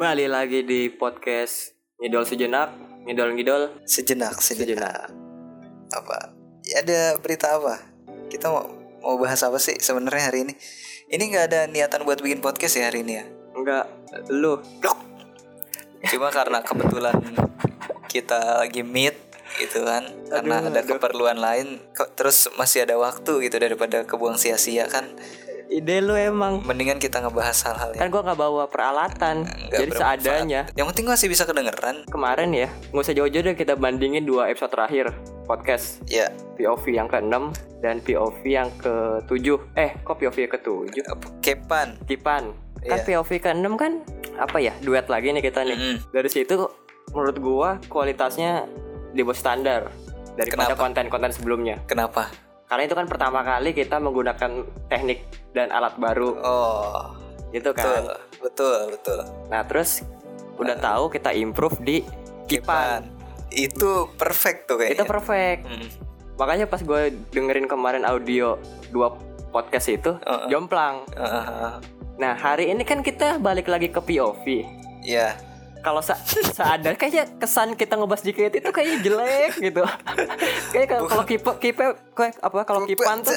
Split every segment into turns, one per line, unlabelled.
Balik lagi di podcast Ngidol Sejenak Ngidol-ngidol
Sejenak,
Sejenak
sejenak. Apa? Ya, ada berita apa? Kita mau mau bahas apa sih sebenarnya hari ini? Ini nggak ada niatan buat bikin podcast ya hari ini ya.
Enggak, lu
Cuma karena kebetulan kita lagi meet gitu kan karena
Aduh,
ada
aduh.
keperluan lain ke- terus masih ada waktu gitu daripada kebuang sia-sia kan
Ide lu emang
mendingan kita ngebahas hal-hal yang
Kan gua nggak bawa peralatan
nggak
Jadi
bermanfaat.
seadanya
yang penting masih bisa kedengeran
Kemarin ya, nggak usah jauh-jauh deh kita bandingin dua episode terakhir podcast
ya
POV yang ke-6 dan POV yang ke-7 Eh, kok POV yang ke-7?
kepan
Tipan Kan
Iya.
POV ke-6 kan apa ya, duet lagi nih kita nih
Mm-mm.
Dari situ menurut gua kualitasnya di bawah standar Daripada
Kenapa?
konten-konten sebelumnya
kenapa
Karena itu kan pertama kali kita menggunakan teknik dan alat baru
oh
gitu
betul
kan.
betul betul
Nah, terus udah tahu kita improve di kipan.
Kipan. Itu perfect tuh
Itu
kayaknya.
perfect.
Mm.
Makanya pas gue dengerin kemarin audio dua podcast itu
Uh-uh.
jomplang.
Ah,
Nah, hari ini kan kita balik lagi ke POV.
ya,
Kalau sa seadanya kayaknya kesan kita ngebahas JKT itu kayaknya jelek gitu. kayaknya kalau- kalau K-pop K-pop kayak apa kalau kipan tuh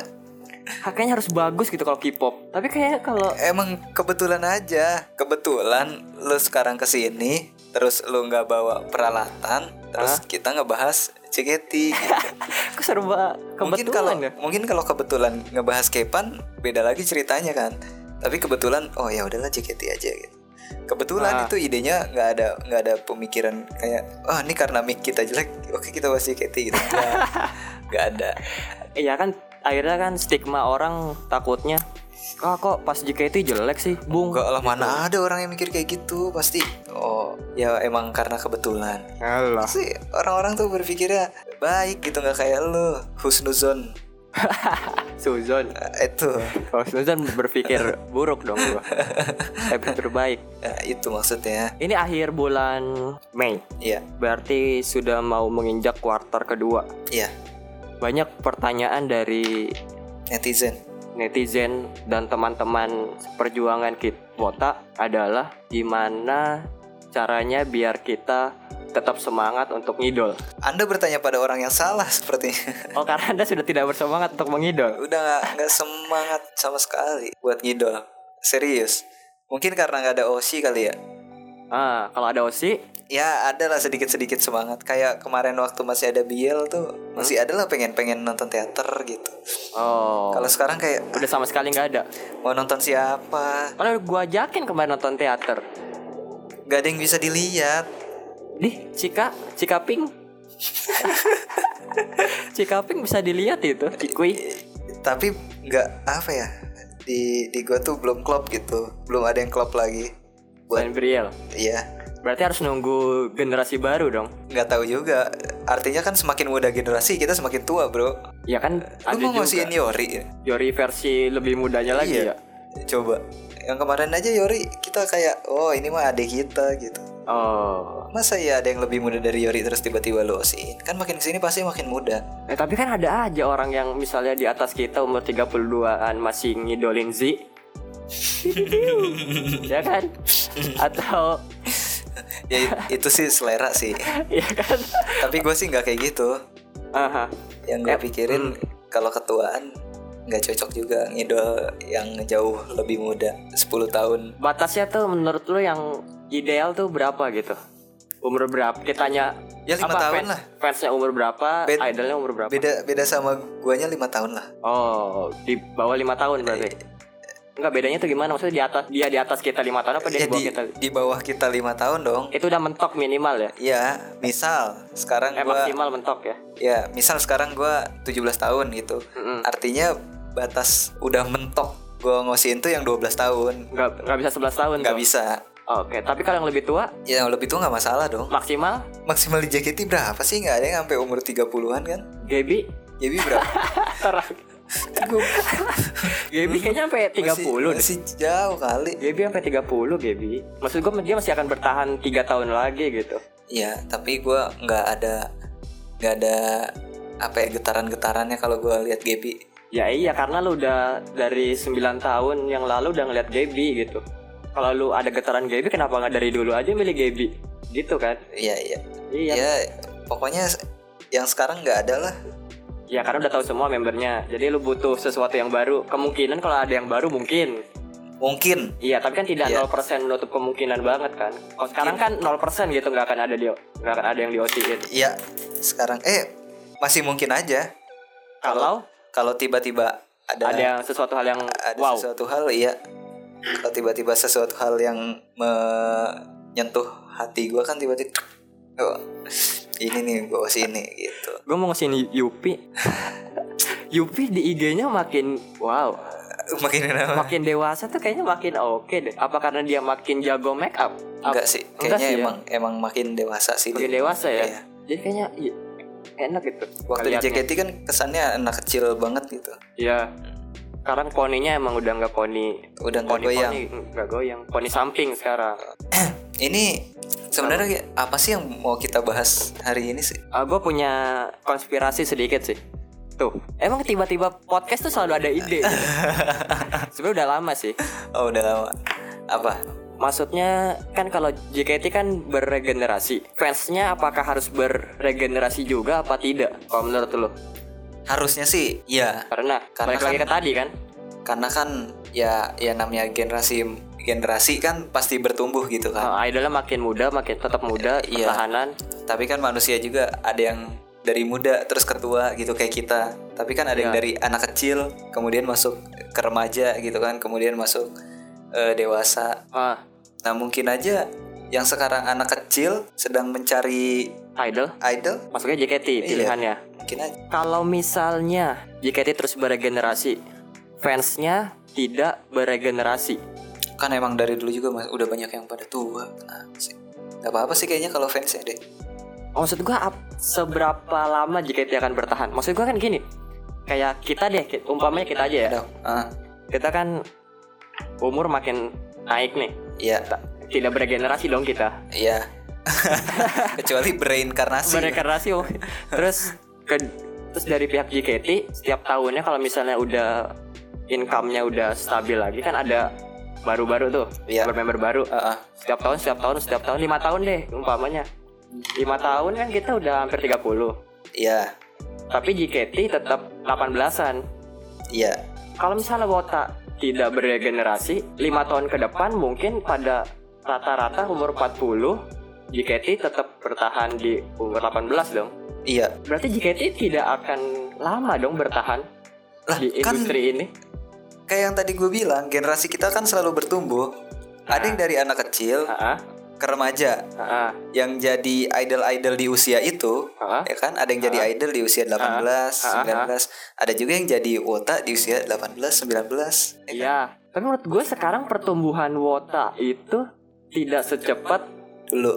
kayaknya harus bagus gitu kalau K-pop. Tapi kayaknya kalau
emang kebetulan aja. Kebetulan lu sekarang kesini, terus lu nggak bawa peralatan, terus kita ngebahas CGT. gitu.
kok serba
mungkin
kebetulan ya.
kalau mungkin kalau kebetulan ngebahas Kepan, beda lagi ceritanya kan. Tapi kebetulan, oh ya udahlah CGT aja gitu.
Ah.
Kebetulan itu idenya nggak ada nggak ada pemikiran kayak, oh ini karena mic kita jelek, oke kita bahas CGT gitu. Nggak, nggak ada.
Iya kan akhirnya kan stigma orang takutnya ah kok pas JKT jelek sih bung
Enggak lah mana ada orang yang mikir kayak gitu pasti. Gitu. Oh ya emang karena kebetulan.
Allah
Sih orang-orang tuh berpikirnya baik gitu nggak kayak lu husnuzon
Suzon
Eh, itu
kalau Suzon berpikir buruk dong gua eh berpikir baik
Eh, itu maksudnya.
ini akhir bulan Mei
Iya
berarti sudah mau menginjak kuartal kedua
iya
banyak pertanyaan dari
netizen.
netizen dan teman-teman perjuangan kita kota adalah gimana caranya biar kita tetap semangat untuk ngidol
Anda bertanya pada orang yang salah sepertinya.
Oh karena anda sudah tidak bersemangat untuk mengidol
Udah nggak nggak semangat sama sekali buat ngidol. Serius. Mungkin karena nggak ada osi kali ya.
Ah kalau ada osi
Ya ada lah sedikit-sedikit semangat Kayak kemarin waktu masih ada Biel tuh Masih ada lah pengen-pengen nonton teater gitu
Oh
Kalau sekarang kayak
udah sama sekali nggak ada
mau nonton siapa
Padahal gua ajakin kemarin nonton teater
Gak ada yang bisa dilihat
Dih Cika Cika Pink Cika Pink bisa dilihat itu Cikui
Tapi gak apa ya Di, di gue tuh belum klop gitu Belum ada yang klop lagi
dan
Buat
Briel
iya
Berarti harus nunggu generasi baru dong
Gak tahu juga Artinya kan semakin muda generasi kita semakin tua bro
Ya kan
Lu
ada
mau
juga
ngasihin Yori Iya.
Yori versi lebih mudanya lagi ya
Coba Yang kemarin aja Yori kita kayak Oh ini mah adik kita gitu
Oh
Masa ya ada yang lebih muda dari Yori terus tiba-tiba lu osiin Kan makin kesini pasti makin muda
Eh, tapi kan ada aja orang yang misalnya di atas kita umur 32-an masih ngidolin Z. ya kan? Atau
Ya i- itu sih selera sih
ya kan?
Tapi gue sih nggak kayak gitu
Aha.
yang gue pikirin kalau ketuaan nggak cocok juga ngidol yang jauh lebih muda 10 tahun
Batasnya tuh menurut lu yang ideal tuh berapa gitu? Umur berapa? Kita tanya
Ya, lima tahun lah.
Fansnya umur berapa?
Bed-
idolnya umur berapa?
beda beda sama guanya lima tahun lah
Oh, di bawah lima tahun
Eh,
berarti. Enggak bedanya tuh gimana? Maksudnya di atas dia di atas kita lima tahun apa dia di bawah
jadi
kita?
Ya, di bawah kita lima tahun dong
Itu udah mentok minimal ya?
ya misal sekarang
Eh
gua
maksimal mentok ya?
ya misal sekarang gua 17 tahun gitu
Mm-mm.
artinya batas udah mentok gua ngosiin tuh yang 12 tahun
nggak nggak bisa 11 tahun
nggak
tuh.
bisa
Oke, tapi kalau yang lebih tua
ya yang lebih tua nggak masalah dong
maksimal
maksimal di JKT berapa sih nggak ada yang sampai umur 30-an kan
Gaby
Jadi berapa
Terang.
Gua-
Gaby kayaknya sampai 30
masih,
deh.
masih jauh kali
Gaby sampai 30 Gaby. Maksud gue dia masih akan bertahan 3 tahun lagi gitu.
ya tapi gua nggak ada nggak ada apa ya getaran-getarannya kalau gua lihat Gaby
Ya iya karena lu udah dari 9 tahun yang lalu udah ngeliat Gaby gitu. kalau lu ada getaran Gaby kenapa nggak dari dulu aja milih Gaby gitu kan
Iya iya.
iya
Ya pokoknya yang sekarang nggak ada lah.
ya karena udah tahu semua membernya jadi lu butuh sesuatu yang baru kemungkinan kalau ada yang baru mungkin
Mungkin
Iya, tapi kan tidak
Iya.
0% menutup kemungkinan banget kan. Kalau sekarang kan 0% gitu nggak akan ada di nggak akan ada yang di OC-in.
ya sekarang eh masih mungkin aja
Kalau
kalau tiba-tiba ada
ada yang sesuatu hal yang
ada
wow.
sesuatu hal iya kalau tiba-tiba sesuatu hal yang menyentuh hati gua kan tiba-tiba oh, ini nih gue sini gitu
Gue mau ngasih Yupi. Yupi di IG-nya makin wow,
makin kenapa
makin dewasa tuh kayaknya makin oke deh. Apa karena dia makin jago make up? Apa-
enggak sih
enggak
kayaknya
sih ya.
emang emang makin dewasa sih
Makin
dia.
dewasa ya.
Iya.
Jadi kayaknya i- enak gitu.
waktu di
Kelihatnya.
JKT kan kesannya anak kecil banget gitu
Iya. Sekarang poninya emang udah nggak poni
udah nggak
poni
goyang
poni nggak goyang poni samping sekarang
ini sebenarnya apa sih yang mau kita bahas hari ini sih
Ah, gue punya konspirasi sedikit sih. Tuh, emang tiba-tiba podcast tuh selalu ada ide. gitu. Sebenarnya udah lama sih.
oh udah lama apa
Maksudnya kan kalau JKT kan berregenerasi, fansnya apakah harus berregenerasi juga apa tidak? Kalau menurut lo?
harusnya sih ya
Karena,
Karena
balik lagi
kan-
ke tadi kan,
karena kan ya ya namanya generasi generasi kan pasti bertumbuh gitu kan
ah, idolnya makin muda, makin tetap muda,
Iya.
pertahanan.
tapi kan manusia juga ada yang dari muda terus ke tua gitu kayak kita tapi kan ada yang
Iya.
dari anak kecil kemudian masuk ke remaja gitu kan kemudian masuk eh, dewasa
Ah,
nah mungkin aja yang sekarang anak kecil sedang mencari
idol
idol
masuknya JKT
Iya.
pilihannya.
mungkin aja
Kalau misalnya JKT terus beregenerasi, fansnya tidak beregenerasi.
kan emang dari dulu juga mas udah banyak yang pada tua nah, sih nggak apa apa sih kayaknya kalau ya, fansnya deh
maksud gua ap- seberapa lama JKT akan bertahan maksud gua kan gini kayak kita deh ki- umpamanya kita aja ya
Udah, ah,
kita kan umur makin naik nih
iya
Ta- tidak bergenerasi dong kita
Iya. Kecuali bereinkarnasi.
bergenerasi oh. terus ke terus dari pihak JKT setiap tahunnya kalau misalnya udah income-nya udah stabil lagi kan ada baru-baru tuh
Iya.
member baru
Heeh.
setiap tahun setiap tahun setiap tahun lima tahun deh umpamanya lima tahun kan kita udah hampir 30
Iya.
tapi JKT tetap 18-an.
Iya.
Kalau misalnya Wota tidak beregenerasi, 5 tahun ke depan mungkin pada rata-rata umur 40, JKT tetap bertahan di umur 18 dong.
Iya.
Berarti JKT tidak akan lama dong bertahan
Lah,
di
kan
industri ini.
kayak yang tadi gue bilang, generasi kita kan selalu bertumbuh.
Nah.
Ada yang dari anak kecil
Ah,
ke remaja
ah, ah,
yang jadi idol-idol di usia itu,
ah.
ya kan? Ada yang jadi idol di usia 18,
Ah, ah,
19. Ada juga yang jadi wota di usia 18, 19. ya kan?
Iya, tapi menurut gue sekarang pertumbuhan Wota itu tidak secepat
Dulu.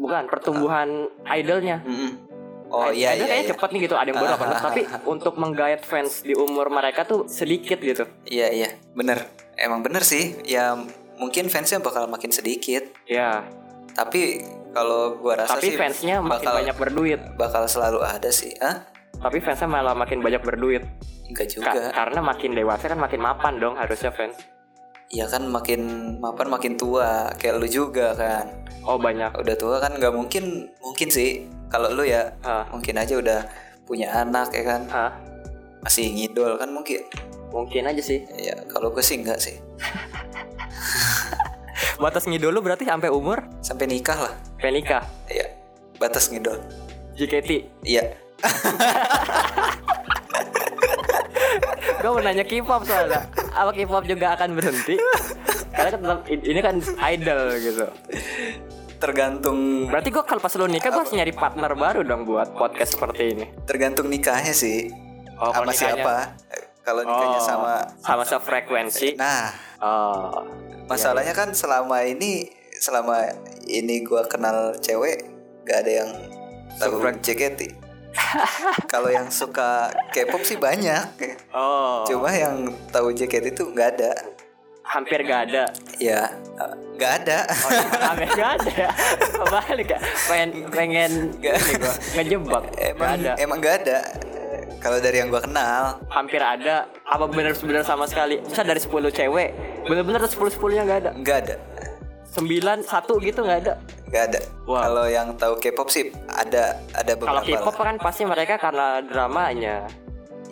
bukan pertumbuhan idolnya
Mm-mm. Oh
Ad-
iya
ada
iya.
kayaknya
iya.
cepet nih gitu ada yang baru
Ah,
18
ah,
tapi untuk menggayat fans di umur mereka tuh sedikit gitu
Iya iya. Bener. Emang bener sih. Ya mungkin fansnya bakal makin sedikit.
ya
tapi kalau gua rasa
tapi
sih
fansnya makin
bakal-
banyak berduit
bakal selalu ada sih ah
tapi fansnya malah makin banyak berduit
enggak
Ka-
juga
karena makin dewasa kan makin mapan dong harusnya fans
ya kan makin mapan makin tua kayak lu juga kan
oh banyak
udah tua kan nggak mungkin mungkin sih kalau lu ya
Ah,
mungkin aja udah punya anak ya kan
ah,
masih ngidol kan mungkin
mungkin aja sih
ya kalau gue sih enggak sih
batas ngidol lu berarti sampai umur
sampai nikah lah
kayak nikah
ya batas ngidol
JKT
iya
gue mau nanya K-pop soalnya apa K-pop juga akan berhenti karena kan tetap ini kan idol gitu
tergantung
berarti gue kalau pas lu nikah gue harus nyari partner baru dong buat podcast seperti ini
tergantung nikahnya sih
Oh, kalau
sama
nikahnya-
siapa kalau nikahnya
Oh,
sama
sama sefrekuensi.
nah
Oh.
Masalahnya kan selama ini selama ini gua kenal cewek gak ada yang tahu
Sefrek.
JKT. Kalau yang suka K-pop sih banyak.
Oh.
Cuma yang tahu JKT itu nggak ada.
Hampir gak ada.
Ya, nggak ada.
Oh, iya, hampir gak ada. Balik ya. Pengen pengen ini gua ngejebak. Gak
emang
ada.
emang nggak ada. Kalau dari yang gua kenal,
Hampir ada. Apa benar-benar sama sekali? Bisa dari 10 cewek. Bener-bener 10 10 nya gak ada.
nggak ada.
sembilan satu gitu nggak ada
Gak ada.
Wah.
Kalau yang tahu K-pop sih ada ada
kalau
beberapa.
K-pop
lah.
kan pasti mereka karena dramanya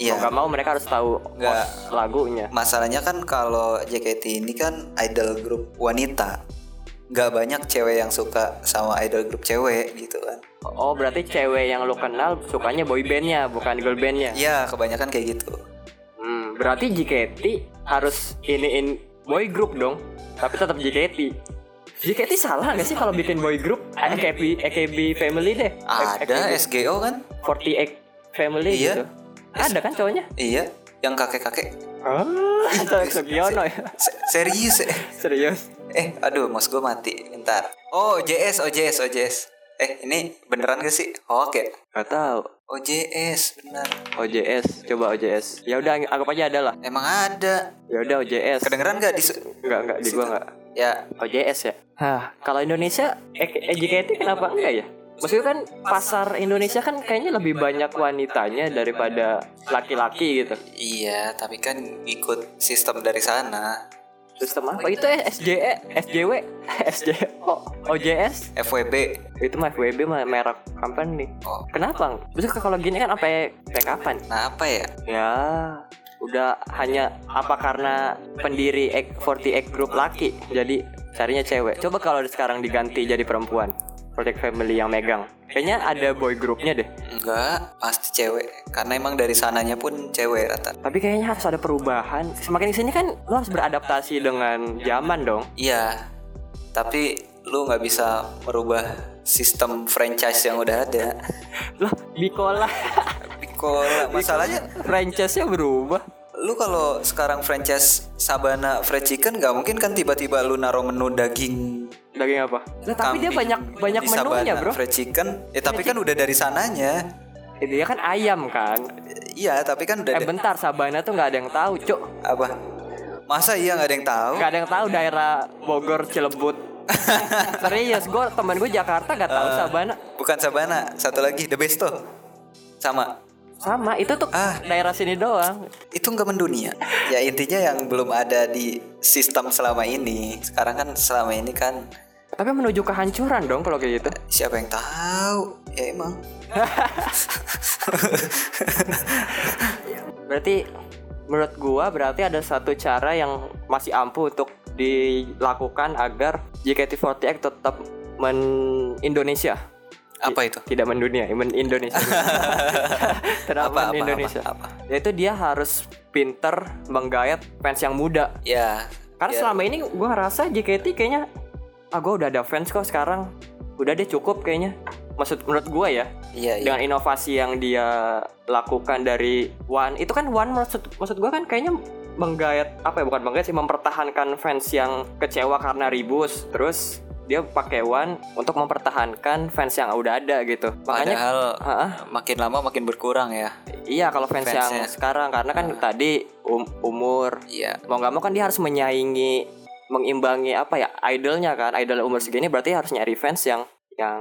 Iya.
mau nggak mau mereka harus tahu
Nggak.
os lagunya
Masalahnya kan kalau JKT ini kan idol grup wanita. Gak banyak cewek yang suka sama idol grup cewek gitu kan.
oh berarti cewek yang lo kenal sukanya boy bandnya bukan girl bandnya
Iya, kebanyakan kayak gitu.
hmm, berarti JKT harus iniin boy group dong tapi tetap JKT JKT salah nggak sih kalau bikin boy group AKB AKB family deh
Ada SGO kan?
48 family
Iya.
gitu ada kan cowoknya
Iya, yang kakek-kakek.
Ah, cowok Sugiono ya
Se- serius eh.
serius
Eh, aduh, mas gue mati. Bentar. Oh, JS, OJS, OJS. Eh, ini beneran gak sih? Hoax ya?
nggak tahu
OJS, benar.
OJS coba OJS ya udah anggap aja ada lah
Emang ada.
ya udah OJS
Kedengeran gak di su-
Enggak, enggak, di gua enggak
Ya,
OJS ya Hah, kalau Indonesia E- EJKT kenapa enggak ya? Maksudnya kan pasar Indonesia kan kayaknya lebih banyak wanitanya daripada laki-laki gitu
iya, tapi kan ikut sistem dari sana.
Sistem apa? "Oh, Itu eh, SJE, SJW, SJO, OJS
FWB.
Itu mah FWB mah merek company
Oh,
Kenapa? Maksudnya kalau gini kan sampai sampai kapan?
nah apa ya?
Ya udah hanya apa karena pendiri Ek- 48 grup laki jadi carinya cewek coba kalau sekarang diganti jadi perempuan Project Family yang megang kayaknya ada boy grupnya deh
Enggak, pasti cewek. Karena emang dari sananya pun cewek rata.
tapi kayaknya harus ada perubahan semakin kesini kan lo harus beradaptasi dengan zaman dong
Iya, tapi lu nggak bisa merubah sistem franchise yang udah ada.
lo Bikola
Pikola, masalahnya
franchise-nya berubah
lu kalau sekarang franchise Sabana Fried Chicken nggak mungkin kan tiba-tiba lu naro menu daging
daging apa Lah, Nah, tapi dia
kambing
banyak banyak
di
menunya
Sabana
bro Iya,
Fried Chicken ya tapi kan udah dari sananya
Eh, dia kan ayam kan
iya tapi kan udah
eh
da-
bentar Sabana tuh nggak ada yang tahu cuk
apa masa iya nggak ada yang tahu
Gak ada yang tahu daerah Bogor Cilebut. Serius, gue temen gue Jakarta gak
Eh.
tahu Sabana.
bukan Sabana satu lagi The Besto sama
Sama, itu tuh
Ah.
daerah sini doang.
itu nggak mendunia ya intinya yang belum ada di sistem selama ini sekarang kan selama ini kan
Tapi menuju kehancuran dong kalau kayak gitu.
siapa yang tahu ya emang
Berarti menurut gua berarti ada satu cara yang masih ampuh untuk dilakukan agar JKT48 tetap men Indonesia
apa itu
tidak mendunia men Indonesia tidak
apa
men
apa
Indonesia
apa, apa?
yaitu dia harus pinter menggayat fans yang muda
ya
Karena
biar-
selama ini gue ngerasa JKT kayaknya Ah gue udah ada fans kok sekarang Udah deh cukup kayaknya Maksud menurut gue ya
Iya, iya.
Dengan inovasi yang dia lakukan dari One Itu kan One maksud, maksud gue kan kayaknya menggayat Apa ya bukan menggayat sih Mempertahankan fans yang kecewa karena ribus Terus dia pakai One untuk mempertahankan fans yang udah ada gitu Makanya
Padahal
Heeh.
makin lama makin berkurang ya.
Iya kalau fans
Fansnya. Nah.
yang sekarang Karena kan tadi um- umur
Iya.
mau nggak mau kan dia harus menyaingi mengimbangi apa ya idolnya kan idol umur segini berarti harus nyari fans yang yang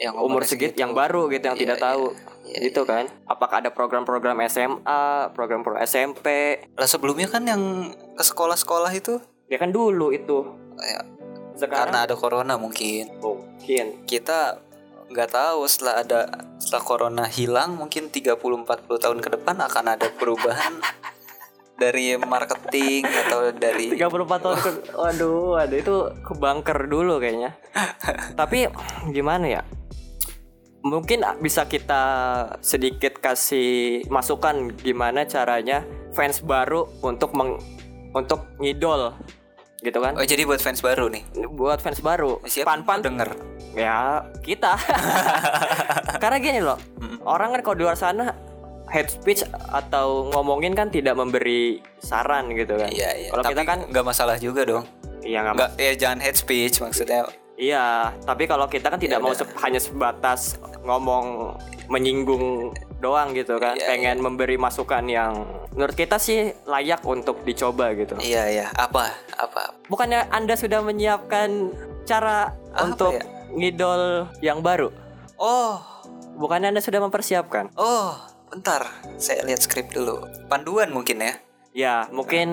Yang
umur
umurnya
segit
segitu.
yang baru gitu yang
Iya,
tidak
iya.
tahu
Iya,
gitu kan apakah ada program-program SMA program pro SMP
Lah sebelumnya kan yang ke sekolah-sekolah itu
dia kan dulu itu
ya,
sekarang
karena ada corona mungkin.
mungkin
Kita nggak tahu setelah ada setelah corona hilang mungkin 30 40 tahun ke depan akan ada perubahan dari marketing atau dari
34 tahun ke, waduh waduh itu ke bunker dulu kayaknya tapi gimana ya mungkin bisa kita sedikit kasih masukan gimana caranya fans baru untuk meng, untuk ngidol gitu kan
Oh jadi buat fans baru nih.
buat fans baru
Siapa
pan-pan
denger?
ya kita karena gini loh orang kan kalau di luar sana hate speech atau ngomongin kan tidak memberi saran gitu kan
Iya iya.
kalau
Tapi
kita kan
nggak masalah juga dong.
ya nggak
Nggak ya jangan hate speech maksudnya.
Iya, tapi kalau kita kan
Ya
tidak mau se- hanya sebatas ngomong menyinggung doang gitu kan.
Iya,
Pengen memberi masukan yang menurut kita sih layak untuk dicoba gitu.
Iya iya. Apa apa
Bukannya Anda sudah menyiapkan cara
Apa
untuk
ya?
ngidol yang baru?
Oh,
Bukannya Anda sudah mempersiapkan?
oh, bentar. Saya lihat skrip dulu. Panduan mungkin ya.
Ya, mungkin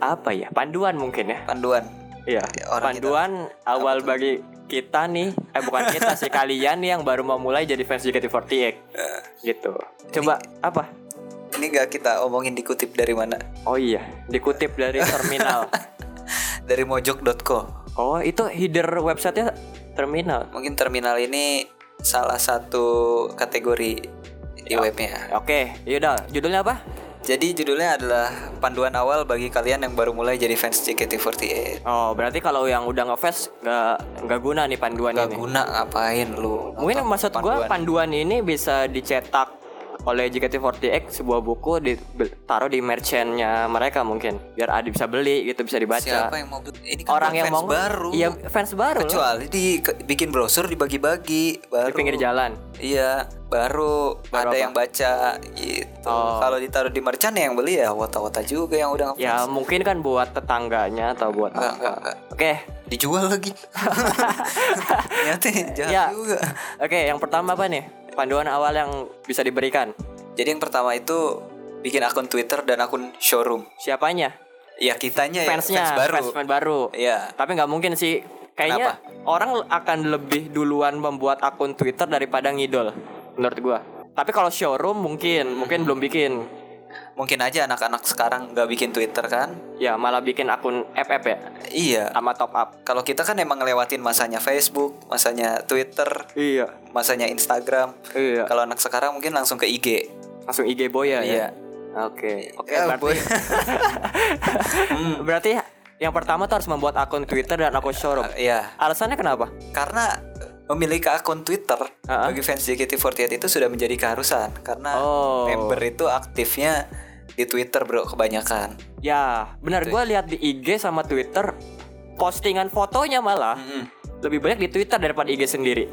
apa ya? Panduan mungkin ya.
Panduan.
Iya.
Ya, Orang kita-
Panduan awal bagi kita nih, eh bukan kita sih kalian nih yang baru memulai jadi fans JKT48.
Eh.
Gitu. Coba apa?
Ini nggak kita omongin dikutip dari mana?
Oh iya, dikutip dari terminal.
Dari mojok.co.
Oh itu header websitenya terminal.
Mungkin terminal ini salah satu kategori
Iya.
di webnya.
Oke, yaudah. Judulnya apa?
Jadi judulnya adalah panduan awal bagi kalian yang baru mulai jadi fans JKT48.
Oh berarti kalau yang udah ngefans nggak nggak guna nih panduan ini.
Gak guna ngapain lu?
Mungkin
Nonton
maksud gua panduan ini bisa dicetak oleh JKT48 sebuah buku ditaruh di merchantnya mereka mungkin biar Adi bisa beli gitu bisa dibaca.
Siapa yang mau beli? Ini kan
Orang
buat
yang
fans
mau
baru.
Iya fans baru. loh,
Kecuali dibikin brosur dibagi-bagi
di
baru.
pinggir jalan.
Iya, baru,
Baru
ada
apa?
yang baca gitu.
Oh.
Kalau ditaruh di merchant yang beli ya wota-wota juga yang udah ngefans.
Ya mungkin kan buat tetangganya atau buat
Enggak,
apa.
enggak, enggak.
Oke,
Dijual lagi. Ternyata jahat
Ya.
juga.
oke. Yang pertama apa nih? Panduan awal yang bisa diberikan.
Jadi yang pertama itu bikin akun Twitter dan akun showroom.
Siapanya?
Ya kitanya ya
Fansnya.
fans baru.
Fans, fans baru.
Iya.
Tapi nggak mungkin sih. Kayaknya orang akan lebih duluan membuat akun Twitter daripada ngidol, menurut gua. Tapi kalau showroom mungkin, mungkin belum bikin.
Mungkin aja anak-anak sekarang nggak bikin Twitter kan?
Ya malah bikin akun FF ya,
Iya.
sama top up.
Kalau kita kan emang ngelewatin masanya Facebook, masanya Twitter,
Iya,
masanya Instagram.
iya.
Kalau anak sekarang mungkin langsung ke IG.
Langsung IG boy ya. ya?
Iya.
Oke, oke.
Ya,
berarti,
boy. Hmm,
berarti yang pertama tuh harus membuat akun Twitter dan akun showroom.
Iya,
Alasannya kenapa?
karena memiliki akun Twitter
Ha-ha.
bagi fans JKT48 itu sudah menjadi keharusan karena
Oh.
member itu aktifnya di Twitter bro kebanyakan.
Ya, benar gua lihat di IG sama Twitter postingan fotonya malah
Hmm.
lebih banyak di Twitter daripada IG sendiri.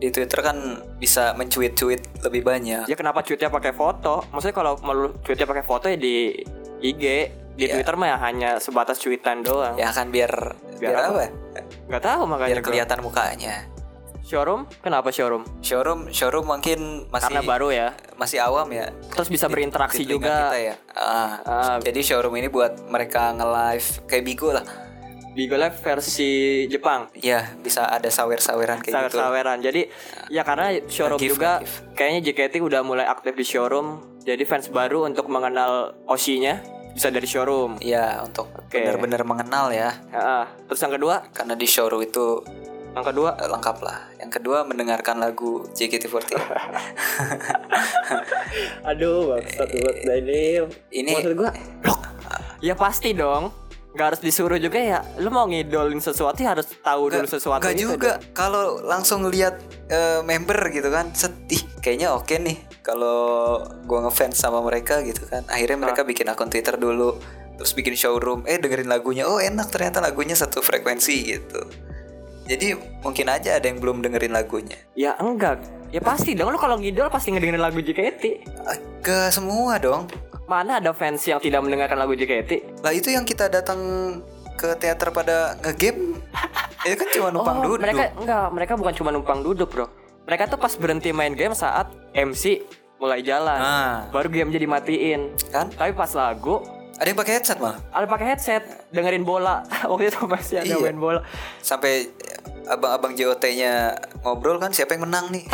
Di Twitter kan bisa mencuit-cuit lebih banyak.
Ya kenapa tweetnya pakai foto? Maksudnya kalau mau tweetnya pakai foto ya di IG, di
Iya.
Twitter mah ya hanya sebatas cuitan doang.
Ya kan biar biar, apa?
Gak tahu
Biar
makanya. gua.
kelihatan mukanya.
Showroom? Kenapa showroom?
Showroom showroom mungkin masih
Karena baru ya.
masih awam ya.
Terus bisa berinteraksi
di telinga
juga.
kita ya. Ah,
Ah.
jadi showroom ini buat mereka nge-live kayak Bigo lah.
Bigo Live versi Jepang.
Ya, bisa ada sawer-saweran kayak gitu.
Sawer-saweran. Jadi ya karena showroom
Nge-give,
juga
nge-give.
kayaknya JKT udah mulai aktif di showroom. Jadi fans baru untuk mengenal Oshi-nya bisa dari showroom.
Ya, untuk
Oke.
benar-benar mengenal ya.
Ah, terus yang kedua,
Karena di showroom itu
yang kedua
eh, lengkap lah. Yang kedua mendengarkan lagu JKT48.
Aduh, bangsat buat nah ini.
Ini-
maksud gua. Ya pasti dong. Gak harus disuruh juga ya. Lu mau ngidolin sesuatu ya harus tahu dulu sesuatu
Enggak
itu
juga
dong.
kalau langsung lihat eh, member gitu kan sedih. Kayaknya oke nih kalau gua ngefans sama mereka gitu kan. Akhirnya
Ah.
mereka bikin akun Twitter dulu, terus bikin showroom. Eh dengerin lagunya, oh enak ternyata lagunya satu frekuensi gitu. Jadi mungkin aja ada yang belum dengerin lagunya.
Ya enggak. Ya pasti dong lu kalau ngidol pasti ngedengerin lagu JKT.
Ke Ah, semua dong.
Mana ada fans yang tidak mendengarkan lagu JKT?
Lah itu yang kita datang ke teater pada ngegame itu kan cuma numpang
Oh,
duduk.
mereka enggak, mereka bukan cuma numpang duduk, Bro. Mereka tuh pas berhenti main game saat MC mulai jalan.
Nah,
Baru game jadi matiin.
kan?
Tapi pas lagu
Ada yang pakai headset malah.
ada pakai headset dengerin bola. Waktu itu masih ada
Iya.
main bola.
Sampai abang-abang JOT-nya ngobrol kan siapa yang menang nih.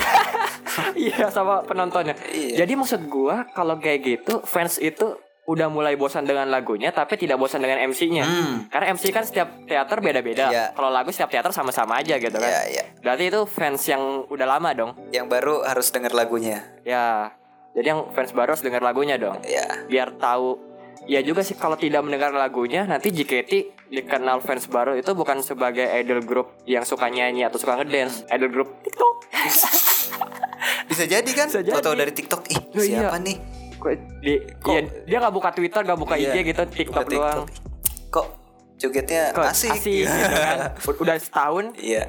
Iya sama penontonnya.
Iya.
Jadi maksud gua kalau kayak gitu fans itu udah mulai bosan dengan lagunya tapi tidak bosan dengan MC-nya.
Hmm.
Karena MC kan setiap teater beda-beda.
Iya.
Kalau lagu setiap teater sama-sama aja gitu kan.
Iya, iya.
Berarti itu fans yang udah lama dong.
Yang baru harus denger lagunya.
Ya. Jadi yang fans baru harus denger lagunya dong.
Ya,
Biar tahu Ya juga sih kalau tidak mendengar lagunya nanti JKT dikenal fans baru itu bukan sebagai idol group yang suka nyanyi atau suka ngedance, idol group TikTok.
bisa jadi kan?
Bisa jadi.
Tahu-tahu dari TikTok, ih,
Oh, iya.
siapa nih?
Kok di-
Kok-
iya, dia nggak buka Twitter, nggak buka
Iya,
IG gitu, TikTok
Buka
doang.
Kok jogetnya
Kok
asik?
asik gitu kan. U- Udah setahun.
Iya.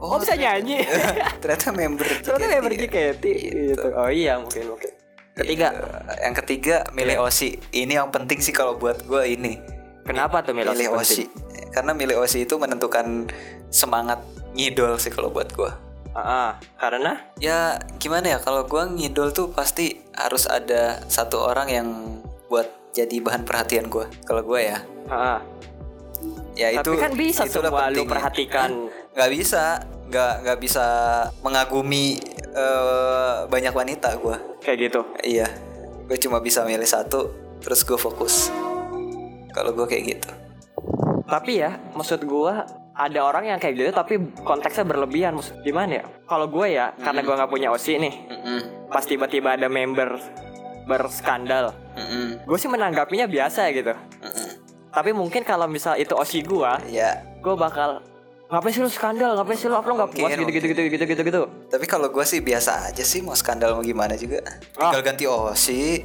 Oh, bisa nyanyi.
ternyata member
Ternyata
JKT.
member JKT gitu. Oh iya mungkin mungkin. Ketiga,
Eh, Yang ketiga milih Osi. Ini yang penting sih kalau buat gue ini.
kenapa tuh Milos?
Milih
penting?
Osi. Karena milih Osi itu menentukan semangat ngidol sih kalau buat gue.
Ah, ah. karena
Ya gimana ya kalau gue ngidol tuh pasti harus ada satu orang yang buat jadi bahan perhatian gue. Kalau gue ya.
ah, ah.
ya itu
Tapi kan bisa
itulah
semua lu
pentingnya.
perhatikan
nggak bisa nggak nggak bisa mengagumi eh, banyak wanita gua
kayak gitu.
iya gue cuma bisa milih satu terus gue fokus kalau gue kayak gitu
Tapi ya, maksud gua ada orang yang kayak gitu tapi konteksnya berlebihan. Maksud gimana ya? Kalau gue ya, karena gua nggak punya OSI nih,
Mm-mm.
pas tiba-tiba ada member berskandal,
Mm-mm.
gue sih menanggapinya biasa gitu.
Mm-mm.
Tapi mungkin kalau misal itu OSI gua,
ya
gue bakal ngapain sih lu skandal, ngapain sih lu upload nggak puas
Mungkin,
gitu gitu gitu gitu gitu gitu.
tapi kalau gue sih biasa aja sih mau skandal mau gimana juga
Ah.
tinggal ganti osi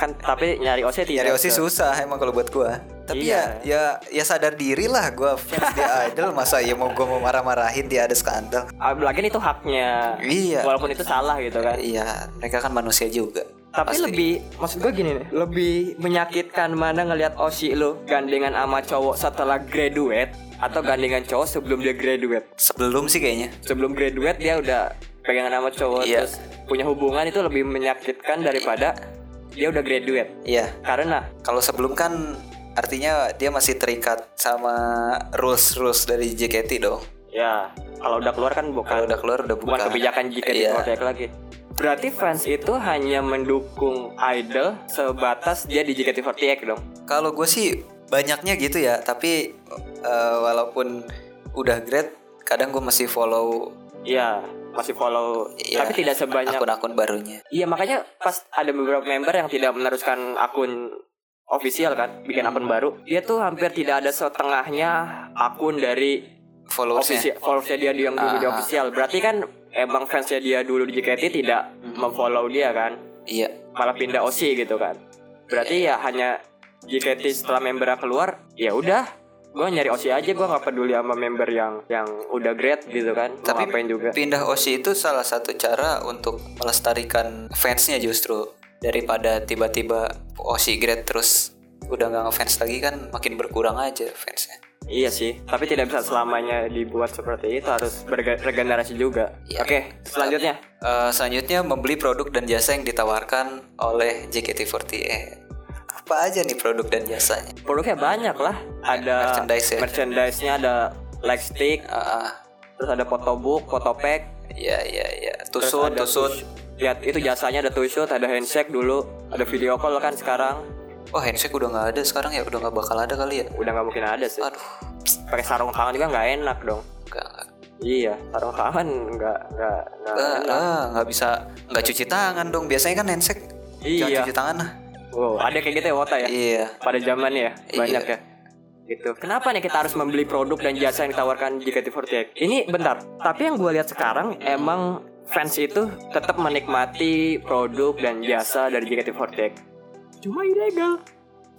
Kan tapi nyari OSI tidak. gitu.
nyari osi Iya, susah emang kalau buat gue tapi
Iya.
ya ya ya sadar diri lah gue fans dia idol masa ya mau gue mau marah-marahin dia ada skandal
Apalagi itu haknya.
Iya.
Walaupun itu salah gitu kan.
iya mereka kan manusia juga
Tapi
Pasti.
lebih maksud gue gini nih, lebih menyakitkan mana ngelihat Osi lu gandengan sama cowok setelah graduate atau gandengan cowok sebelum dia graduate.
sebelum sih kayaknya
Sebelum graduate dia udah pegangan sama cowok
Iya.
terus punya hubungan itu lebih menyakitkan daripada dia udah graduate.
iya
Karena
Kalau sebelum kan artinya dia masih terikat sama rules rules dari JKT dong.
ya kalau udah keluar kan bukan
Kalau udah keluar udah bukan.
bukan kebijakan jika
Iya.
diprotek lagi. Berarti fans itu hanya mendukung idol sebatas dia di JKT48 dong.
Kalau gue sih banyaknya gitu ya, tapi eh, walaupun udah grade, kadang gue masih follow
Iya, masih follow
Iya.
tapi tidak sebanyak
akun-akun barunya.
Iya makanya pas ada beberapa member yang tidak meneruskan akun official kan bikin akun
Hmm.
baru dia tuh hampir tidak ada setengahnya akun dari
Followersnya.
official followersnya dia yang dulu di
Ah, ah.
official berarti kan emang fansnya dia dulu di JKT tidak
Hmm.
memfollow dia kan
Iya.
malah pindah OC gitu kan berarti ya hanya JKT setelah membernya keluar ya udah gue nyari OC aja gue nggak peduli sama member yang yang udah grade gitu kan mau
Tapi
ngapain juga
Pindah OC itu salah satu cara untuk melestarikan fansnya justru daripada tiba-tiba OC grade terus udah nggak ngefans lagi kan makin berkurang aja fansnya.
Iya sih, tapi tidak bisa selamanya dibuat seperti itu harus bergenerasi juga.
Iya.
Oke, selanjutnya.
Eh, selanjutnya membeli produk dan jasa yang ditawarkan oleh JKT48. Apa aja nih produk dan jasanya?
Produknya banyak lah. Ada
Merchandise ya?
merchandise-nya ada light stick,
Ah, ah.
terus ada photobook, photopack,
ya ya ya.
terus
Tusut
ada
tusut.
tush- Lihat itu jasanya ada tusut, ada handshake dulu, ada video call kan sekarang
Wah Oh, handshake udah nggak ada sekarang ya udah nggak bakal ada kali ya.
udah nggak mungkin ada sih.
Aduh,
Pakai sarung tangan juga nggak enak dong.
nggak nggak
Iya, sarung tangan nggak nggak nggak
Ah,
enak.
ah, nggak bisa nggak cuci tangan dong. Biasanya kan handshake. Jangan
Iya.
cuci tangan lah.
Wow, ada kayak gitu ya Wota ya?
Iya.
pada zamannya ya banyak ya gitu kenapa nih kita harus membeli produk dan jasa yang ditawarkan JKT48 ini bentar tapi yang gue lihat sekarang emang fans itu tetap menikmati produk dan jasa dari JKT48 cuma ilegal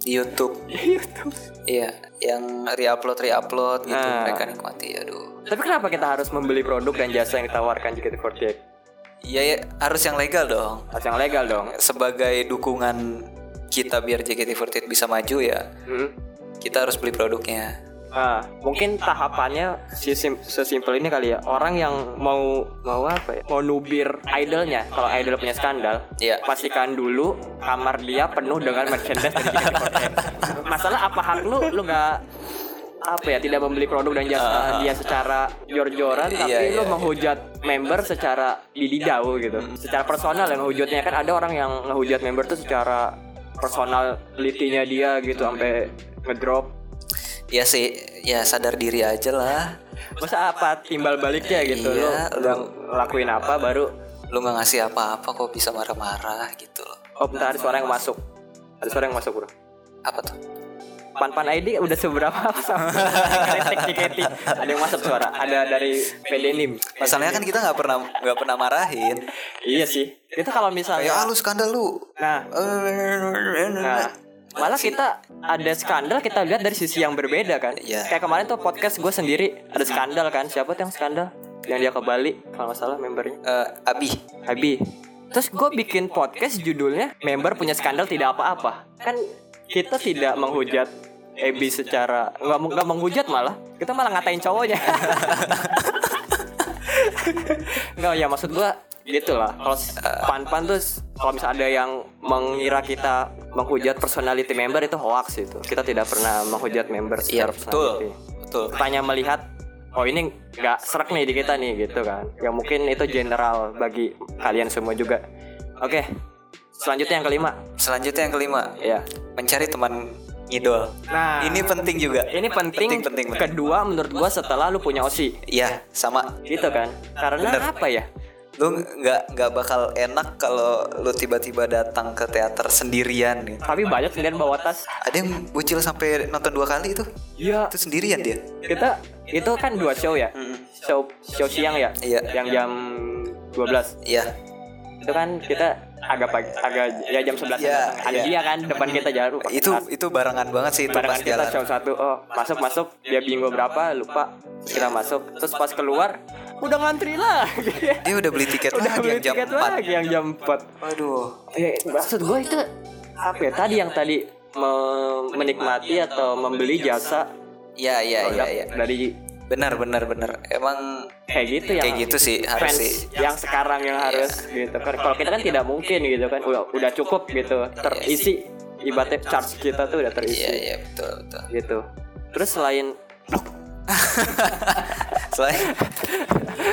Gitu.
Di YouTube.
YouTube
Iya. Yang reupload reupload gitu
Ah.
mereka nikmati. Aduh.
tapi kenapa kita harus membeli produk dan jasa yang ditawarkan JKT48
Iya ya, harus yang legal dong.
harus yang legal dong
sebagai dukungan kita biar JKT48 bisa maju ya
hmm?
kita harus beli produknya
Nah, mungkin tahapannya sesim- sesimpel ini kali ya orang yang mau mau apa ya mau nubir idolnya kalau idol punya skandal
Iya.
pastikan dulu kamar dia penuh dengan merchandise dari JKT48. masalah apa hak lu lu nggak apa ya tidak membeli produk dan jasa dia secara jor-joran tapi
Ah. Iya,
lu
iya,
menghujat member secara dididau gitu secara personal yang hujatnya kan ada orang yang ngehujat member tuh secara personalitinya dia gitu sampai ngedrop
ya sih ya sadar diri aja lah
masa apa timbal baliknya gitu lo
Iya,
udah lakuin apa baru
lu nggak ngasih apa-apa kok bisa marah-marah gitu loh
oh bentar ada suara yang masuk ada suara yang masuk bro
apa tuh
Panpan ID udah seberapa sama kritik JKT ada yang masuk suara ada dari PD Nim
masalahnya kan kita nggak pernah nggak pernah marahin
iya sih itu kalau
kayak ah,
misalnya
lu skandal lu
nah nah malah kita ada skandal kita lihat dari sisi yang berbeda kan
Iya.
kayak kemarin tuh podcast gue sendiri ada skandal kan siapa tuh yang skandal yang dia ke Bali kalau nggak salah membernya
Eh, abi
Abi. Terus gue bikin podcast judulnya member punya skandal tidak apa-apa. Kan kita tidak menghujat Ebi secara nggak meng- nggak menghujat malah kita malah ngatain cowoknya. Nggak ya maksud gue gitu lah. Kalau s- pan-pan tuh s- kalau misalnya ada yang mengira kita menghujat personality member itu hoax itu. Kita tidak pernah menghujat member
Iya,
secara personality.
betul. Betul.
Tanya melihat Oh ini nggak serak nih di kita nih gitu kan. Yang mungkin itu general bagi kalian semua juga. Oke, selanjutnya yang kelima.
Selanjutnya yang kelima,
Ya.
mencari teman idol.
Nah,
Ini penting juga.
ini penting,
penting, penting. penting.
kedua menurut gua setelah lu punya osi
Iya, sama.
gitu kan karena
Bener.
apa ya
Lu nggak nggak bakal enak kalau lu tiba-tiba datang ke teater sendirian gitu.
tapi banyak kemudian bawa tas
Ada yang bucil sampai nonton dua kali itu.
ya
Itu sendirian dia.
kita itu kan dua show ya show show siang ya
Iya.
yang jam 12
Iya.
itu kan kita agak pagi agak ya jam 11
Iya,
ada
iya.
dia kan depan kita jalan lupa
Itu
tas.
itu barengan banget sih itu
Barengan
pas
kita
jalan.
show satu oh masuk masuk dia bingung berapa lupa Terus kita masuk terus pas keluar udah ngantri lah
Dia udah beli tiket
udah
lagi
beli
yang jam
tiket
4.
lagi yang jam 4
Waduh.
Ya, maksud gue itu apa ya tadi yang tadi me- menikmati atau membeli jasa
Iya, iya, iya,
produk
iya.
dari
Benar, benar, benar. Emang
kayak gitu yang
kayak gitu sih harus
fans
sih. Iya.
yang sekarang yang harus gitu kan kalau kita kan tidak mungkin gitu kan udah, udah cukup gitu terisi ibaratnya charge kita tuh udah
Iya,
terisi
iya, betul, betul.
gitu terus selain
Selain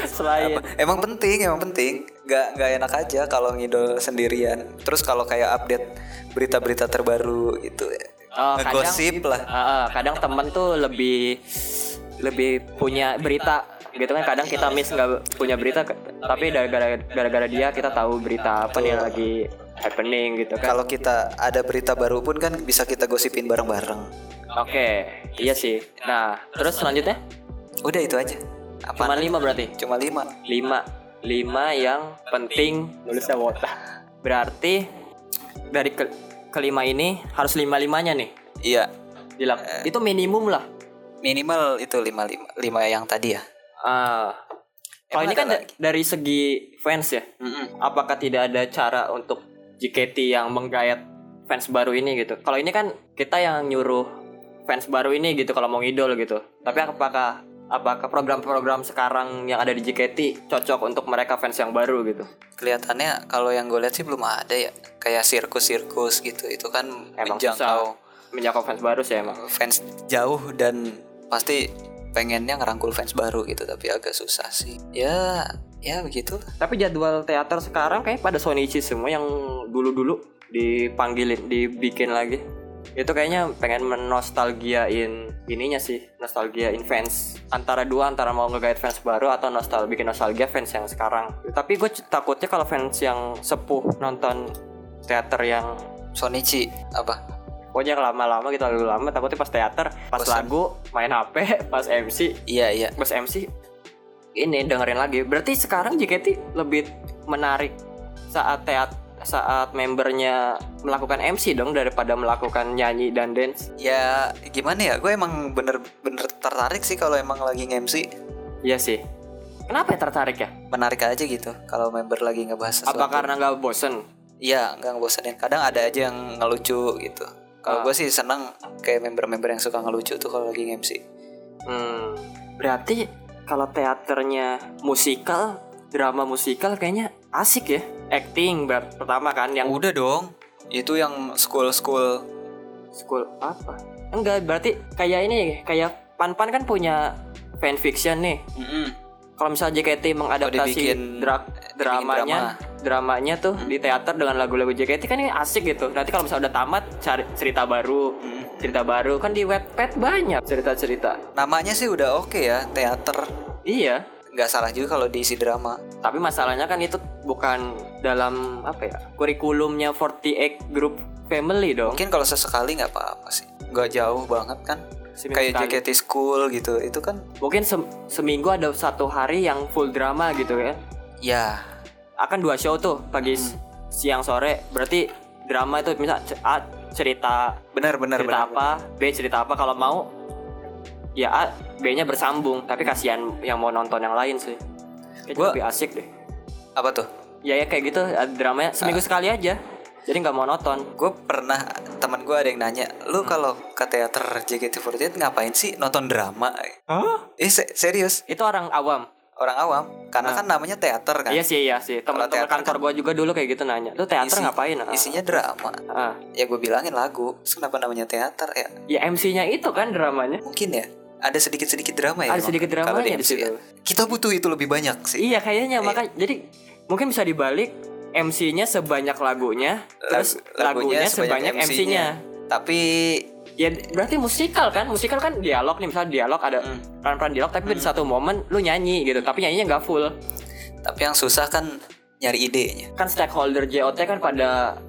selain
Emang penting, emang penting. Nggak nggak enak aja kalau ngidol sendirian. Terus kalau kayak update berita-berita terbaru gitu.
Oh, kadang-
Ngegosip lah.
Ah, ah, kadang temen tuh lebih lebih punya berita gitu kan kadang kita miss nggak punya berita ke- tapi gara-gara gara-gara dia kita tahu berita apa nih yang lagi happening gitu kan
Kalau kita ada berita baru pun kan bisa kita gosipin bareng-bareng.
oke iya sih nah terus selanjutnya
Udah itu aja.
cuma
Apa?
lima berarti
Cuma lima.
lima lima yang penting nulisnya wota berarti dari ke- kelima ini harus lima limanya nih
Iya.
dilak itu minimum lah
Minimal itu lima lima lima yang tadi ya.
Ah. kalau
Emang
ini kan
ada
da- dari segi fans ya, apakah tidak ada cara untuk JKT yang menggayat fans baru ini gitu? Kalau ini kan kita yang nyuruh fans baru ini gitu kalau mau ngidol gitu. Tapi apakah apakah program-program sekarang yang ada di JKT cocok untuk mereka fans yang baru gitu?
Kelihatannya kalau yang gue lihat sih belum ada ya. Kayak sirkus-sirkus gitu. Itu kan
Emang
menjangkau
susah menjangkau fans baru sih emang.
fans jauh dan pasti pengennya ngerangkul fans baru gitu tapi agak susah sih ya ya begitu
Tapi jadwal teater sekarang kayak pada Sonichi semua yang dulu-dulu dipanggilin, dibikin lagi. Itu kayaknya pengen menostalgiain ininya sih, nostalgiain fans. Antara dua, antara mau ngegait fans baru atau nostal bikin nostalgia fans yang sekarang. Tapi gue c- takutnya kalau fans yang sepuh nonton teater yang
Sonichi apa
pokoknya yang lama-lama gitu lalu lama takutnya pas teater, pas
Bosan.
lagu, main HP, pas MC,
iya iya
Bos MC ini dengerin lagi. Berarti sekarang JKT lebih menarik saat teat saat membernya melakukan MC dong daripada melakukan nyanyi dan dance.
ya gimana ya gue emang bener-bener tertarik sih kalau emang lagi nge-MC
Iya sih. Kenapa ya tertarik ya?
menarik aja gitu kalau member lagi ngebahas sesuatu
Apa karena nggak bosen?
iya nggak ngebosenin kadang ada aja yang ngelucu gitu kalau
Ah.
gue sih seneng kayak member-member yang suka ngelucu tuh kalau lagi nge-MC
Hmm, berarti kalau teaternya musikal, drama musikal kayaknya asik ya. Acting ber- pertama kan yang
udah dong itu yang school-school
School apa? Enggak, berarti kayak ini kayak Panpan kan punya fanfiction nih. kalau misalnya JKT mengadaptasi
Oh, dibikin-
dra-
dibikin Hmm.
dramanya dramanya tuh di teater dengan lagu-lagu JKT kan ini asik gitu nanti kalau misalnya udah tamat cari cerita baru
Hmm.
cerita baru kan di Wattpad banyak cerita-cerita
namanya sih udah oke ya teater
iya
nggak salah juga kalau diisi drama
tapi masalahnya kan itu bukan dalam apa ya kurikulumnya 48 group family dong
mungkin kalau sesekali nggak apa-apa sih nggak jauh banget kan
Seminggu
kayak
sekali.
JKT School gitu itu kan
mungkin sem- seminggu ada satu hari yang full drama gitu ya
ya
akan dua show tuh pagi
Hmm.
siang sore berarti drama itu misal c- A, cerita
benar benar
cerita
benar
apa, B cerita apa kalau mau ya A, B-nya bersambung, tapi kasihan yang mau nonton yang lain sih. Kayaknya
Gua-
lebih asik deh.
apa tuh
Ya ya kayak gitu eh, dramanya seminggu sekali aja. Jadi nggak mau nonton.
gue pernah teman gue ada yang nanya lu
Hmm.
kalau ke teater JKT48 ngapain sih nonton drama
Hah?
eh se- serius
Itu orang awam.
orang awam
Nah.
karena kan namanya teater kan.
Iya sih, iya sih. Teman-teman
teater kan-
kantor gua juga dulu kayak gitu nanya. Lu teater
Isi-
ngapain? Ah.
Isinya drama.
Ah.
Ya gue bilangin lagu. Terus kenapa namanya teater ya?
Ya MC-nya itu kan dramanya.
Mungkin ya ada sedikit-sedikit drama
Ada
ya. emang,
sedikit
kalau
dramanya di
MC ya.
situ.
Kita butuh itu lebih banyak sih.
Iya
Eh.
kayaknya makanya jadi mungkin bisa dibalik MC-nya sebanyak lagunya, terus lagunya, sebanyak MC-nya.
Tapi
Ya berarti musikal kan? Musikal kan dialog nih, misalnya dialog ada peran-peran dialog tapi di satu momen lu nyanyi gitu, tapi nyanyinya nggak full.
tapi yang susah kan nyari idenya.
Kan stakeholder JOT kan pada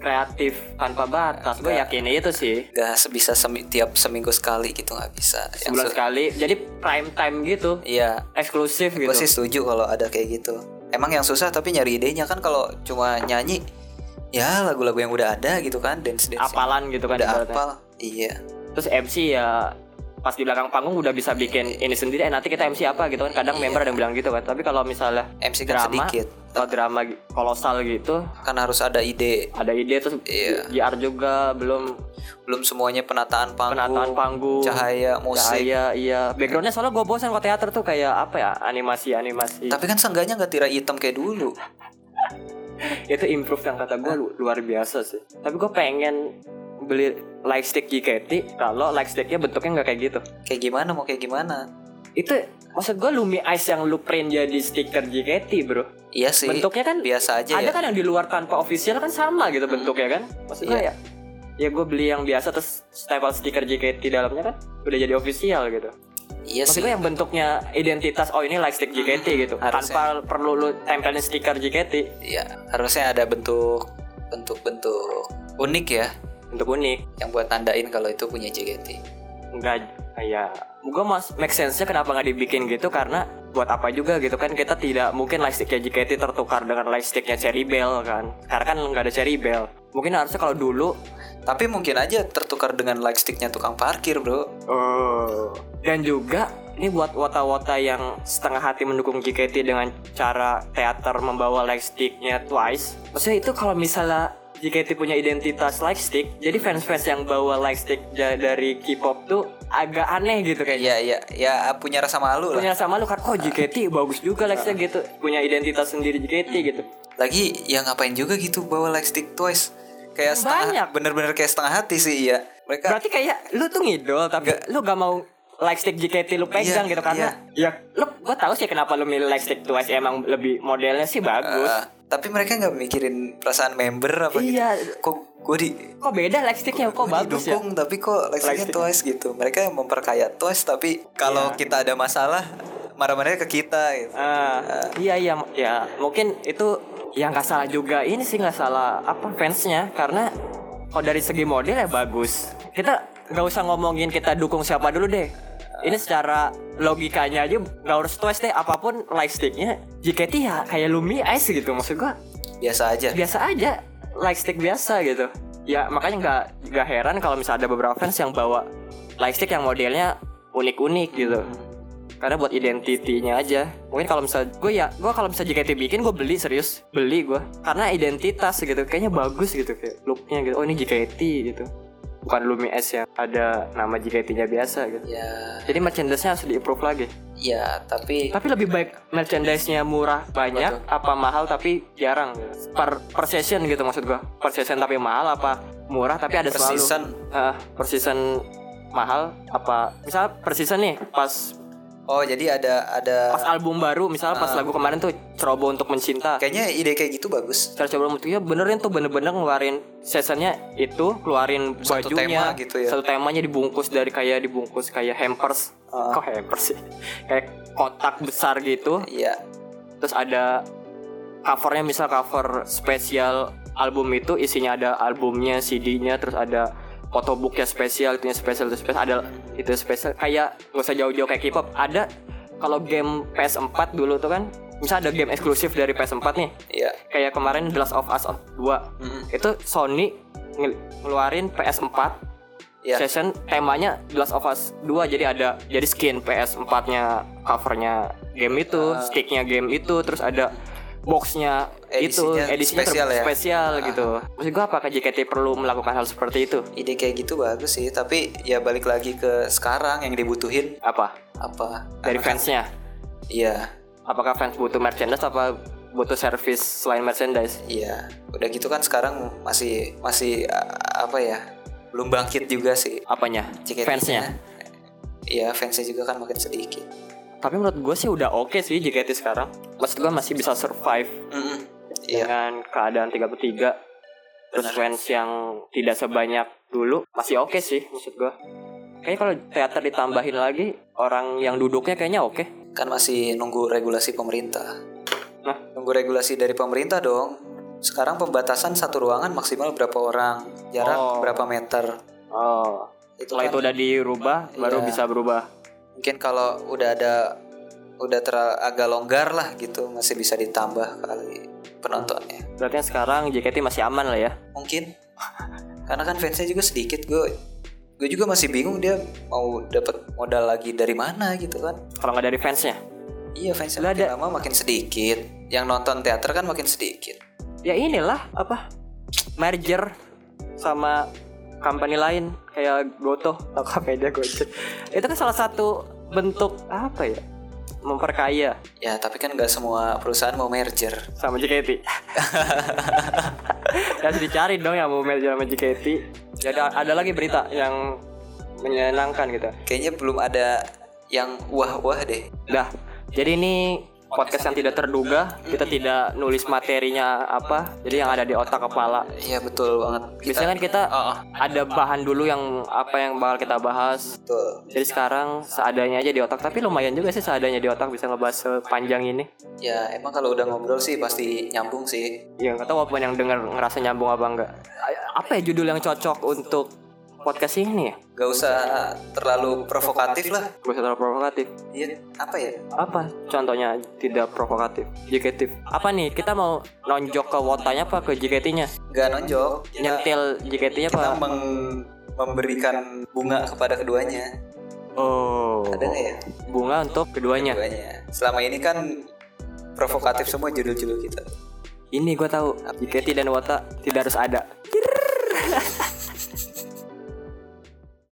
kreatif tanpa batas. Gue yakin itu sih.
Gak sebisa semi- tiap seminggu sekali gitu nggak bisa. Yang
Sebulan
su-
sekali. Jadi prime time gitu,
Iya,
eksklusif
gue sih
gitu.
setuju kalau ada kayak gitu emang yang susah tapi nyari idenya kan kalau cuma nyanyi ya lagu-lagu yang udah ada gitu kan dance dance
Apalan gitu kan
udah
ibaratnya.
apal iya
terus MC ya pas di belakang panggung udah bisa bikin ini sendiri eh nanti kita MC apa gitu kan kadang member ada yang bilang gitu kan tapi kalau misalnya
MC kan
Drama.
sedikit
kalau drama gi- kolosal gitu
kan harus ada ide
ada ide terus
Iya.
di- GR juga belum
belum semuanya penataan panggung
penataan panggung
cahaya musik
cahaya iya backgroundnya soalnya gue bosan kok teater tuh kayak apa ya animasi animasi
tapi kan seenggaknya nggak tirai hitam kayak dulu
itu improve yang kata gue luar biasa sih tapi gue pengen beli light stick JKT kalau light sticknya bentuknya nggak kayak gitu
kayak gimana mau kayak gimana
itu maksud gue Lumi Ice yang lu print jadi stiker JKT bro
iya sih
bentuknya kan
biasa aja
ada
ya Hmm.
kan yang di luar tanpa official kan sama gitu bentuknya kan maksudnya
Iya.
ya ya gue beli yang biasa terus stempel stiker JKT dalamnya kan udah jadi official gitu
iya
maksud
sih
gue yang bentuknya identitas oh ini like stick JKT gitu
Harusnya.
tanpa perlu lu tempelin stiker JKT
iya harusnya ada bentuk bentuk-bentuk unik ya
bentuk unik
yang buat tandain kalau itu punya JKT
enggak ya gue mas make sense nya kenapa nggak dibikin gitu karena buat apa juga gitu kan kita tidak mungkin lightsticknya JKT tertukar dengan lightsticknya Cherry Bell kan karena kan nggak ada Cherry Bell mungkin harusnya kalau dulu
Tapi mungkin aja tertukar dengan lightsticknya tukang parkir bro
Dan juga ini buat wata-wata yang setengah hati mendukung JKT dengan cara teater membawa lightsticknya Twice. Maksudnya itu kalau misalnya JKT punya identitas lightstick, jadi fans-fans yang bawa lightstick ja- dari K-pop tuh agak aneh gitu kayaknya.
Ya ya ya punya rasa malu lah
Punya sama lu kan, oh JKT bagus juga lightstick gitu, punya identitas sendiri JKT gitu.
Lagi ya ngapain juga gitu bawa lightstick twice
Banyak.
Kayak setengah bener-bener kayak setengah hati sih iya Mereka
Berarti kayak lu tuh ngidol tapi lu gak mau lightstick JKT lu pegang
Iya,
gitu karena ya lu gua tahu sih kenapa lu milih lightstick Twice emang lebih modelnya sih bagus.
eh, Tapi mereka nggak mikirin perasaan member apa gitu
Iya.
Kok gue di
Kok beda lightsticknya kok
gua
bagus ya?
didukung tapi kok lightsticknya
Lightstick.
twice gitu Mereka memperkaya twice tapi kalau
Iya.
kita ada masalah Marah-marahnya ke kita gitu
Ah, iya iya m- ya mungkin itu yang nggak salah juga ini sih nggak salah apa fansnya karena kalau dari segi model ya bagus kita nggak usah ngomongin kita dukung siapa dulu deh ini secara logikanya aja nggak harus twice deh apapun lightsticknya JKT ya kayak Lumi Ice gitu maksud gua
Biasa aja
biasa aja lightstick biasa gitu ya makanya nggak nggak heran kalau misalnya ada beberapa fans yang bawa lightstick yang modelnya unik-unik gitu karena buat identitinya aja mungkin kalau misalnya gue ya gue kalau misalnya JKT bikin gue beli serius beli gue karena identitas gitu kayaknya bagus gitu kayak looknya gitu oh ini JKT gitu bukan Lumi S yang ada nama JKT-nya biasa gitu
Ya
jadi merchandise-nya harus di-improve lagi
ya tapi
tapi lebih baik merchandise-nya murah banyak apa mahal tapi jarang per per session gitu maksud gua. Per session tapi mahal apa murah tapi ada selalu.
persisan
Eh, per season mahal apa misal per season nih pas
Oh jadi ada ada
pas album baru misal
Eh.
pas lagu kemarin tuh ceroboh untuk mencinta.
Kayaknya ide kayak gitu bagus.
Cara coba bentuknya benerin tuh bener-bener ngeluarin seasonnya itu keluarin
Satu
bajunya
tema gitu ya.
satu temanya dibungkus dari kayak dibungkus kayak hampers
Ah.
kok hampers sih kayak kotak besar gitu
Iya.
terus ada covernya misal cover spesial album itu isinya ada albumnya CD-nya terus ada photobooknya spesial itunya spesial itu spesial ada itu spesial kayak gak usah jauh-jauh kayak K-pop ada kalau game PS4 dulu tuh kan misal ada game eksklusif dari PS4 nih
Iya.
kayak kemarin The Last of Us 2 itu Sony ngel- ngeluarin PS4
Iya.
session temanya The Last of Us 2 jadi ada jadi skin PS4 nya covernya game itu
Ah.
sticknya game itu terus ada boxnya itu
Edisinya
edisinya ter-
spesial ya?
spesial gitu maksud gua apakah JKT perlu melakukan hal seperti itu
Ide kayak gitu bagus sih, tapi ya balik lagi ke sekarang yang dibutuhin
apa
apa?
dari
Karena kan-
fansnya
Iya.
apakah fans butuh merchandise apa butuh service selain merchandise
Iya, udah gitu kan sekarang masih masih a- apa ya? Belum bangkit juga sih.
apanya
JKT-nya.
fansnya
kan, Iya, fansnya juga kan makin sedikit.
tapi menurut gue sih udah oke sih JKT sekarang maksud gue masih bisa survive
Mm-mm. Iya,
dengan keadaan 33 terus fans yang tidak sebanyak dulu masih oke sih maksud gue kayaknya kalau teater ditambahin lagi orang yang duduknya kayaknya oke
kan masih nunggu regulasi pemerintah.
Hah?
Nunggu regulasi dari pemerintah dong. Sekarang pembatasan satu ruangan maksimal berapa orang, jarak
Oh.
berapa meter.
oh
Itu
setelah
kan
itu udah dirubah baru
Iya.
bisa berubah
mungkin kalau udah ada udah ter agak longgar lah gitu masih bisa ditambah kali penontonnya.
berarti yang sekarang JKT masih aman lah ya
Mungkin karena kan fansnya juga sedikit gue gue juga masih bingung dia mau dapat modal lagi dari mana gitu kan.
kalau nggak dari fansnya
Iya fansnya
Lah,
makin
ada-
lama makin sedikit. Yang nonton teater kan makin sedikit.
ya inilah apa merger sama company lain kayak Goto Tokopedia Gojek itu kan salah satu bentuk apa ya memperkaya
Ya tapi kan nggak semua perusahaan mau merger.
sama JKT harus dicari dong yang mau merger sama JKT ya ada, ada lagi berita yang menyenangkan gitu
Kayaknya belum ada yang wah-wah deh.
Dah, jadi ini podcast yang tidak terduga, kita tidak nulis materinya apa, jadi yang ada di otak kepala.
Iya betul banget.
Biasanya kan kita ada bahan dulu yang apa yang bakal kita bahas.
betul.
Jadi sekarang seadanya aja di otak, tapi lumayan juga sih seadanya di otak bisa ngebahas sepanjang ini.
Ya emang kalau udah ngobrol sih pasti nyambung sih.
Ya nggak tahu apa yang denger ngerasa nyambung apa enggak. A- Apa ya judul yang cocok untuk podcast ini ya?
Gak usah terlalu provokatif lah.
Gue terlalu provokatif.
Iya apa ya?
Apa contohnya tidak provokatif? JKT. Apa nih? Kita mau nonjok ke wotanya apa ke JKT-nya?
Gak nonjok. Kita,
nyentil JKT-nya
kita
apa?
meng- memberikan bunga kepada keduanya.
Oh.
Ada nggak ya?
Bunga untuk keduanya.
Keduanya. Selama ini kan provokatif semua judul-judul kita.
Ini gue tahu. JKT dan Wata tidak harus ada.